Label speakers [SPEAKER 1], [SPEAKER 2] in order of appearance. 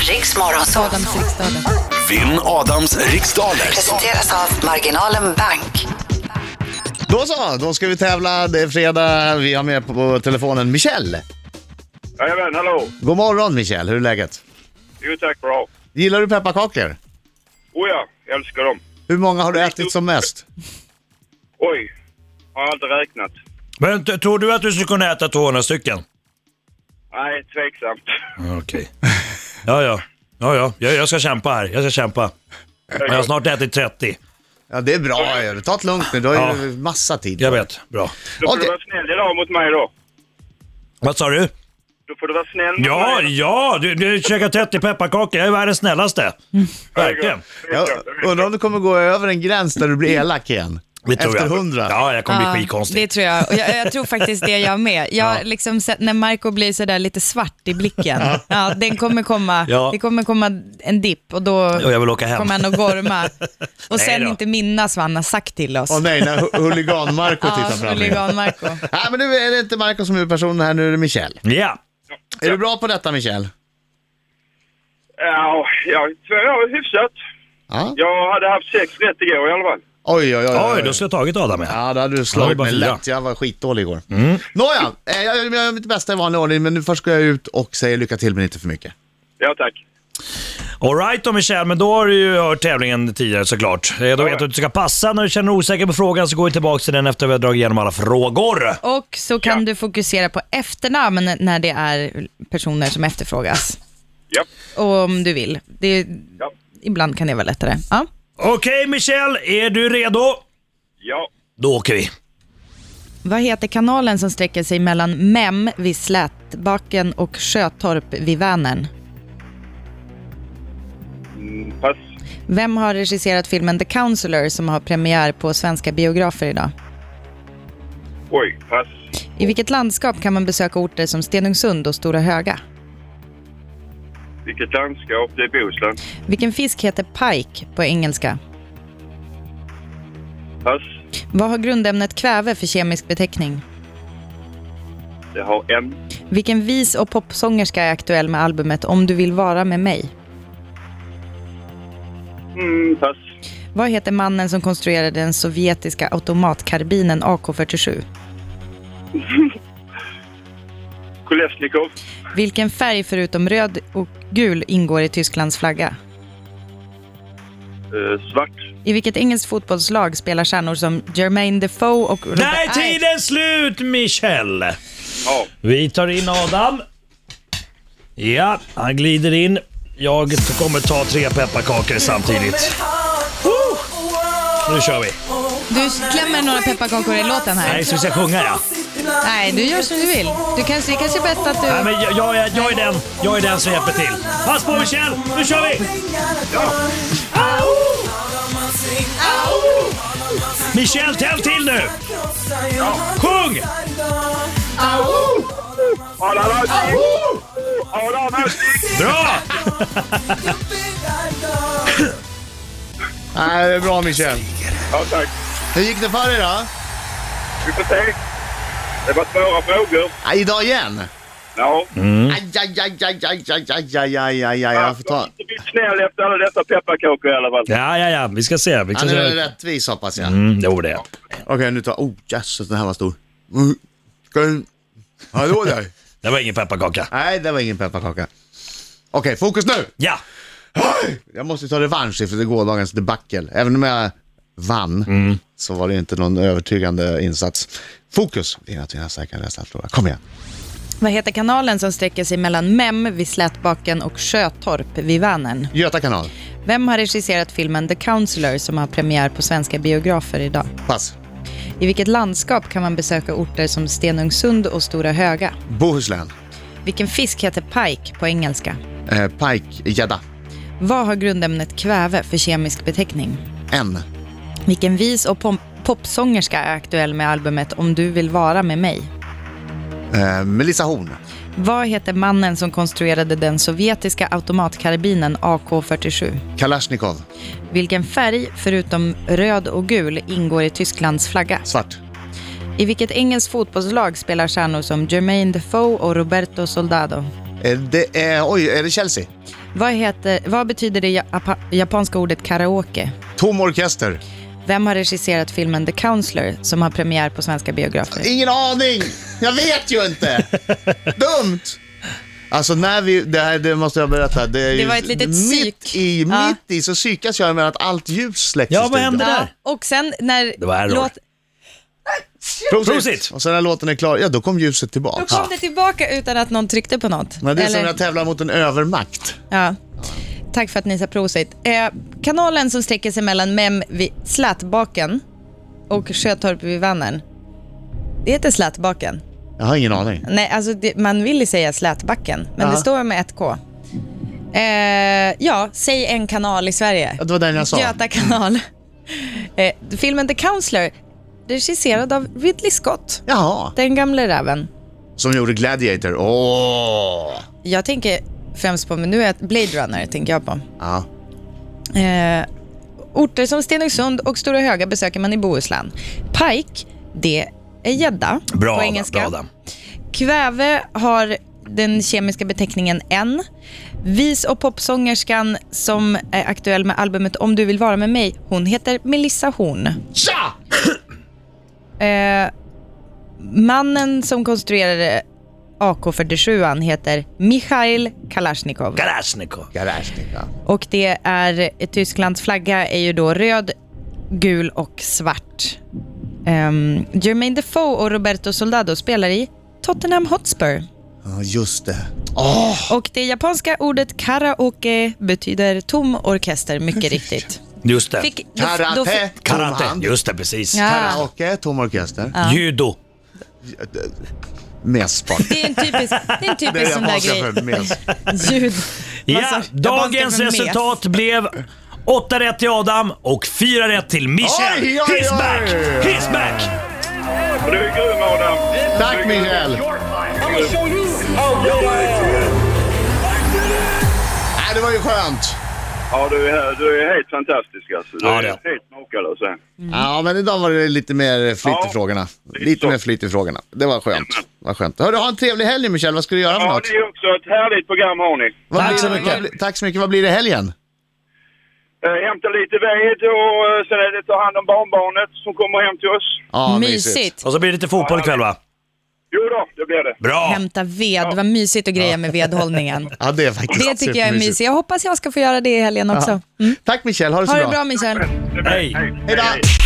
[SPEAKER 1] Riks Morgonzoo.
[SPEAKER 2] Adams riksdaler.
[SPEAKER 3] Vinn Adams riksdaler.
[SPEAKER 1] Presenteras av Marginalen Bank.
[SPEAKER 4] Då så, då ska vi tävla. Det är fredag. Vi har med på telefonen Michelle.
[SPEAKER 5] Jajamän, hallå!
[SPEAKER 4] God morgon Michelle, hur är läget?
[SPEAKER 5] Jo tack, bra.
[SPEAKER 4] Gillar du pepparkakor?
[SPEAKER 5] Oh ja, jag älskar dem.
[SPEAKER 4] Hur många har du ätit som mest?
[SPEAKER 5] Oj, har jag inte räknat.
[SPEAKER 6] Men t- tror du att du skulle kunna äta 200 stycken?
[SPEAKER 5] Nej, tveksamt.
[SPEAKER 6] Ja, Okej. Ja, ja. Ja, ja. Jag, jag ska kämpa här. Jag ska kämpa. Jag har snart ätit 30.
[SPEAKER 4] Ja, det är bra. ju. Ta det lugnt nu, du har ju massa tid.
[SPEAKER 6] Jag vet. Bra.
[SPEAKER 5] Då får
[SPEAKER 4] Okej.
[SPEAKER 5] du vara snäll idag mot mig då.
[SPEAKER 6] Vad sa du?
[SPEAKER 5] Då får du vara snäll mot
[SPEAKER 6] Ja,
[SPEAKER 5] mig.
[SPEAKER 6] ja. Du, du käkar 30 pepparkakor. Jag är världens snällaste. Verkligen.
[SPEAKER 4] Jag undrar om du kommer gå över en gräns där du blir elak igen.
[SPEAKER 6] Det tror
[SPEAKER 4] Efter
[SPEAKER 6] jag.
[SPEAKER 4] hundra.
[SPEAKER 6] Ja, jag kommer
[SPEAKER 2] Ja,
[SPEAKER 6] bli skitkonstig.
[SPEAKER 2] Det tror jag. Och jag. Jag tror faktiskt det jag med. Jag
[SPEAKER 6] Ja.
[SPEAKER 2] liksom, sett när Marco blir sådär lite svart i blicken, ja, den kommer komma,
[SPEAKER 6] Ja.
[SPEAKER 2] det kommer komma en dipp och då
[SPEAKER 6] Och jag vill åka hem.
[SPEAKER 2] kommer han att gorma. Och
[SPEAKER 6] Nej
[SPEAKER 2] sen
[SPEAKER 6] då.
[SPEAKER 2] inte minnas vad han har sagt till oss.
[SPEAKER 4] Åh nej, när hu- huligan-Marco
[SPEAKER 2] Ja,
[SPEAKER 4] tittar fram igen.
[SPEAKER 2] huligan Marco.
[SPEAKER 4] Nej, men nu är det inte Marco som är personen här, nu är det Michelle.
[SPEAKER 6] Ja.
[SPEAKER 4] Är du bra på detta Michelle?
[SPEAKER 5] Ja, ja, två- ja, hyfsat.
[SPEAKER 4] Ja.
[SPEAKER 5] Jag hade haft sex rätt igår i alla fall.
[SPEAKER 4] Oj, oj, oj.
[SPEAKER 6] Oj, då skulle jag tagit Adam ja.
[SPEAKER 4] Ja, då hade du
[SPEAKER 6] Ja, det
[SPEAKER 4] slagit
[SPEAKER 6] var
[SPEAKER 4] mig
[SPEAKER 6] fyra. Mm.
[SPEAKER 4] lätt. Jag var skitdålig igår. Nåja, eh, jag jag gör mitt bästa i vanlig ordning, men nu först ska jag ut och säger lycka till, men inte för mycket.
[SPEAKER 5] Ja tack.
[SPEAKER 6] Alright då Michelle, men då har du ju hört tävlingen tidigare såklart. Eh, Då vet du att du ska passa. När du känner dig osäker på frågan så går vi tillbaka till den efter vi har dragit igenom alla frågor.
[SPEAKER 2] Och så kan du fokusera på efternamn när det är personer som efterfrågas.
[SPEAKER 5] Ja.
[SPEAKER 2] Och om du vill. Det,
[SPEAKER 5] Ja.
[SPEAKER 2] Ibland kan det vara lättare. Ja.
[SPEAKER 6] Okej Michelle, är du redo?
[SPEAKER 5] Ja.
[SPEAKER 6] Då åker vi.
[SPEAKER 2] Vad heter kanalen som sträcker sig mellan Mem vid Slätbaken och Sjötorp vid Vänern?
[SPEAKER 5] Mm, pass.
[SPEAKER 2] Vem har regisserat filmen The Counselor som har premiär på svenska biografer idag?
[SPEAKER 5] Oj, pass.
[SPEAKER 2] I vilket landskap kan man besöka orter som Stenungsund och Stora Höga?
[SPEAKER 5] Vilket landskap. Det är Bohuslän.
[SPEAKER 2] Vilken fisk heter pike på engelska?
[SPEAKER 5] Pass.
[SPEAKER 2] Vad har grundämnet kväve för kemisk beteckning?
[SPEAKER 5] Det har M.
[SPEAKER 2] Vilken vis och popsångerska är aktuell med albumet Om du vill vara med mig?
[SPEAKER 5] Mm, pass.
[SPEAKER 2] Vad heter mannen som konstruerade den sovjetiska automatkarbinen AK47?
[SPEAKER 5] Kolesnikov.
[SPEAKER 2] Vilken färg förutom röd och gul ingår i Tysklands flagga?
[SPEAKER 5] Eh, svart.
[SPEAKER 2] I vilket engelskt fotbollslag spelar stjärnor som Jermaine Defoe och... Robert-
[SPEAKER 6] Där är tiden slut Michelle!
[SPEAKER 5] Ja.
[SPEAKER 6] Vi tar in Adam. Ja, han glider in. Jag kommer ta tre pepparkakor samtidigt. Woo! Nu kör vi.
[SPEAKER 2] Du klämmer några pepparkakor i låten här.
[SPEAKER 6] Nej, så vi ska sjunga ja.
[SPEAKER 2] Nej, du gör som du vill. Du kanske, det kanske är bäst att du...
[SPEAKER 6] Nej, men jag, jag, är, jag är den, jag är den som hjälper till. Pass på Michelle, nu kör vi! Michelle, tänd till nu! Sjung!
[SPEAKER 5] Adam Alsing! Adam Alsing!
[SPEAKER 6] Bra!
[SPEAKER 4] Nej, det är bra Michelle.
[SPEAKER 5] Ja tack.
[SPEAKER 4] Hur gick det för er då?
[SPEAKER 5] Vi får se. Det var svåra frågor.
[SPEAKER 4] Ah, idag igen?
[SPEAKER 5] Ja.
[SPEAKER 6] Mm.
[SPEAKER 4] Aj, aj, aj, aj, aj, aj, aj, aj, aj, aj, aj. Jag får ta...
[SPEAKER 5] inte blivit snäll efter alla dessa pepparkakor i alla fall.
[SPEAKER 6] Ja, ja, ja, vi ska se. Vi ska
[SPEAKER 4] Han
[SPEAKER 6] se.
[SPEAKER 4] är rättvis hoppas jag.
[SPEAKER 6] Mm, jo, det är
[SPEAKER 4] Okej, nu tar... Oh, jösses, den här var stor. Mm. Ska du... Hallå där.
[SPEAKER 6] Det var ingen pepparkaka.
[SPEAKER 4] Nej, det var ingen pepparkaka. Okej, fokus nu!
[SPEAKER 6] Ja,
[SPEAKER 4] Jag måste ta revansch efter gårdagens debacle. Även om jag vann så var det inte någon övertygande insats. Fokus! Vinna, vinna, säkra, rädsla, förlora. Kom igen!
[SPEAKER 2] Vad heter kanalen som sträcker sig mellan Mem vid Slätbaken och Sjötorp vid Vänern?
[SPEAKER 4] Göta kanal.
[SPEAKER 2] Vem har regisserat filmen The Counselor som har premiär på svenska biografer idag?
[SPEAKER 4] Pass.
[SPEAKER 2] I vilket landskap kan man besöka orter som Stenungsund och Stora Höga?
[SPEAKER 4] Bohuslän.
[SPEAKER 2] Vilken fisk heter pike på engelska?
[SPEAKER 4] Eh, Pike, gädda.
[SPEAKER 2] Vad har grundämnet kväve för kemisk beteckning?
[SPEAKER 4] En.
[SPEAKER 2] Vilken vis och pom- popsångerska är aktuell med albumet Om du vill vara med mig?
[SPEAKER 4] Eh, Melissa Horn.
[SPEAKER 2] Vad heter mannen som konstruerade den sovjetiska automatkarbinen AK47?
[SPEAKER 4] Kalashnikov.
[SPEAKER 2] Vilken färg, förutom röd och gul, ingår i Tysklands flagga?
[SPEAKER 4] Svart.
[SPEAKER 2] I vilket engelskt fotbollslag spelar stjärnor som Jermaine Defoe och Roberto Soldado?
[SPEAKER 4] Eh, Det är, oj, är det Chelsea?
[SPEAKER 2] Vad, heter, vad betyder det japa, japanska ordet karaoke?
[SPEAKER 4] Tom orkester.
[SPEAKER 2] Vem har regisserat filmen The Counselor som har premiär på svenska biografer?
[SPEAKER 4] Ingen aning! Jag vet ju inte! Dumt! Alltså när vi, det här det måste jag berätta, det, är
[SPEAKER 2] Det
[SPEAKER 4] ju
[SPEAKER 2] var ett litet
[SPEAKER 4] mitt
[SPEAKER 2] psyk.
[SPEAKER 4] i,
[SPEAKER 2] Ja.
[SPEAKER 4] mitt i så psykas jag med att allt ljus släcks
[SPEAKER 6] Ja,
[SPEAKER 4] i
[SPEAKER 6] vad
[SPEAKER 4] studion.
[SPEAKER 6] hände? där.
[SPEAKER 2] och sen när...
[SPEAKER 6] Det var error.
[SPEAKER 4] Prosit.
[SPEAKER 6] Prosit!
[SPEAKER 4] Och sen när låten är klar, ja då kom ljuset
[SPEAKER 2] Då
[SPEAKER 4] tillbaka.
[SPEAKER 2] kom det tillbaka utan att någon tryckte på något.
[SPEAKER 4] Men det är som
[SPEAKER 2] Eller-
[SPEAKER 4] när jag tävlar mot en övermakt.
[SPEAKER 2] Ja. Tack för att ni sa prosit. Eh, kanalen som sträcker sig mellan Mem vid Slätbaken och Sjötorp vid Vannern. Det heter Slätbaken.
[SPEAKER 4] Jag har ingen aning.
[SPEAKER 2] Nej, alltså det, man vill ju säga Slätbacken, men
[SPEAKER 4] Ja.
[SPEAKER 2] det står med ett K. Eh, ja, säg en kanal i Sverige.
[SPEAKER 4] Ja, Det var den jag sa.
[SPEAKER 2] Göta kanal. Eh, filmen The Counselor, regisserad av Ridley Scott,
[SPEAKER 4] Jaha,
[SPEAKER 2] den gamle räven.
[SPEAKER 4] som gjorde Gladiator. Åh!
[SPEAKER 2] Jag tänker främst på, men nu är jag Blade Runner tänker jag på.
[SPEAKER 4] Ja.
[SPEAKER 2] Eh, orter som Stenungsund och Stora Höga besöker man i Bohuslän. Pike, det är gädda
[SPEAKER 6] Bra
[SPEAKER 2] på
[SPEAKER 6] Adam,
[SPEAKER 2] engelska.
[SPEAKER 6] bra Adam.
[SPEAKER 2] Kväve har den kemiska beteckningen N. Vis och popsångerskan som är aktuell med albumet Om du vill vara med mig, hon heter Melissa Horn.
[SPEAKER 4] Tja!
[SPEAKER 2] Eh, mannen som konstruerade AK47 heter Mikhail Kalashnikov.
[SPEAKER 6] Kalashnikov.
[SPEAKER 4] Garasnik, ja.
[SPEAKER 2] Och det är, Tysklands flagga är ju då röd, gul och svart. Um, Jermaine Defoe och Roberto Soldado spelar i Tottenham Hotspur.
[SPEAKER 4] Ja, just det.
[SPEAKER 2] Och det japanska ordet karaoke betyder tom orkester, mycket riktigt.
[SPEAKER 6] Just det.
[SPEAKER 2] Fick, då- då
[SPEAKER 4] Karate,
[SPEAKER 2] fick-
[SPEAKER 4] tom hand.
[SPEAKER 6] Karate. Just det, precis.
[SPEAKER 2] Ja.
[SPEAKER 4] Karaoke, tom orkester.
[SPEAKER 6] Judo.
[SPEAKER 4] Messport.
[SPEAKER 2] det är en typisk, det är en
[SPEAKER 4] Det är
[SPEAKER 2] typisk sån där
[SPEAKER 4] japanska
[SPEAKER 2] grej.
[SPEAKER 4] för mes.
[SPEAKER 2] Ljud.
[SPEAKER 6] Ja,
[SPEAKER 2] Alltså, japanska
[SPEAKER 6] dagens
[SPEAKER 2] för mes.
[SPEAKER 6] resultat blev 8 rätt till Adam och 4 rätt till Michel.
[SPEAKER 4] Oj, oj, oj.
[SPEAKER 6] He's back! He's back!
[SPEAKER 5] Men du är grym Adam!
[SPEAKER 4] Tack Michel! Nej, Äh, det var ju skönt.
[SPEAKER 5] Ja, du är, du är helt fantastisk alltså. Du
[SPEAKER 6] Ja,
[SPEAKER 5] är
[SPEAKER 6] det är.
[SPEAKER 5] helt makalös. eh.
[SPEAKER 4] Mm. Ja, men idag var det lite mer flyt i
[SPEAKER 5] Ja,
[SPEAKER 4] frågorna.
[SPEAKER 5] lite
[SPEAKER 4] Lite
[SPEAKER 5] så.
[SPEAKER 4] mer flyt i frågorna. Det var skönt. Var skönt. Hörru, ha en trevlig helg Michel. Vad ska du göra för
[SPEAKER 5] Ja,
[SPEAKER 4] något?
[SPEAKER 5] det är också ett härligt program har ni.
[SPEAKER 4] Vad
[SPEAKER 6] Tack
[SPEAKER 4] blir-
[SPEAKER 6] så
[SPEAKER 4] vad
[SPEAKER 6] mycket.
[SPEAKER 4] blir- Tack så mycket. Vad blir det i helgen?
[SPEAKER 5] Eh, Hämta lite ved och eh, sen är det ta hand om barnbarnet som kommer hem till oss.
[SPEAKER 4] Ja,
[SPEAKER 2] Mysigt.
[SPEAKER 6] Och så blir det lite fotboll ikväll va?
[SPEAKER 5] Jo då, det blir det.
[SPEAKER 6] Bra!
[SPEAKER 2] Hämta ved, vad mysigt att greja med vedhållningen.
[SPEAKER 4] Ja, det är faktiskt
[SPEAKER 2] Det tycker jag är
[SPEAKER 4] supermysigt.
[SPEAKER 2] mysigt. Jag hoppas jag ska få göra det i helgen också. Mm.
[SPEAKER 4] Tack Michel, ha det så
[SPEAKER 2] Ha det
[SPEAKER 4] bra.
[SPEAKER 2] bra Michel.
[SPEAKER 5] Det blir det.
[SPEAKER 6] Hej.
[SPEAKER 4] Hej då.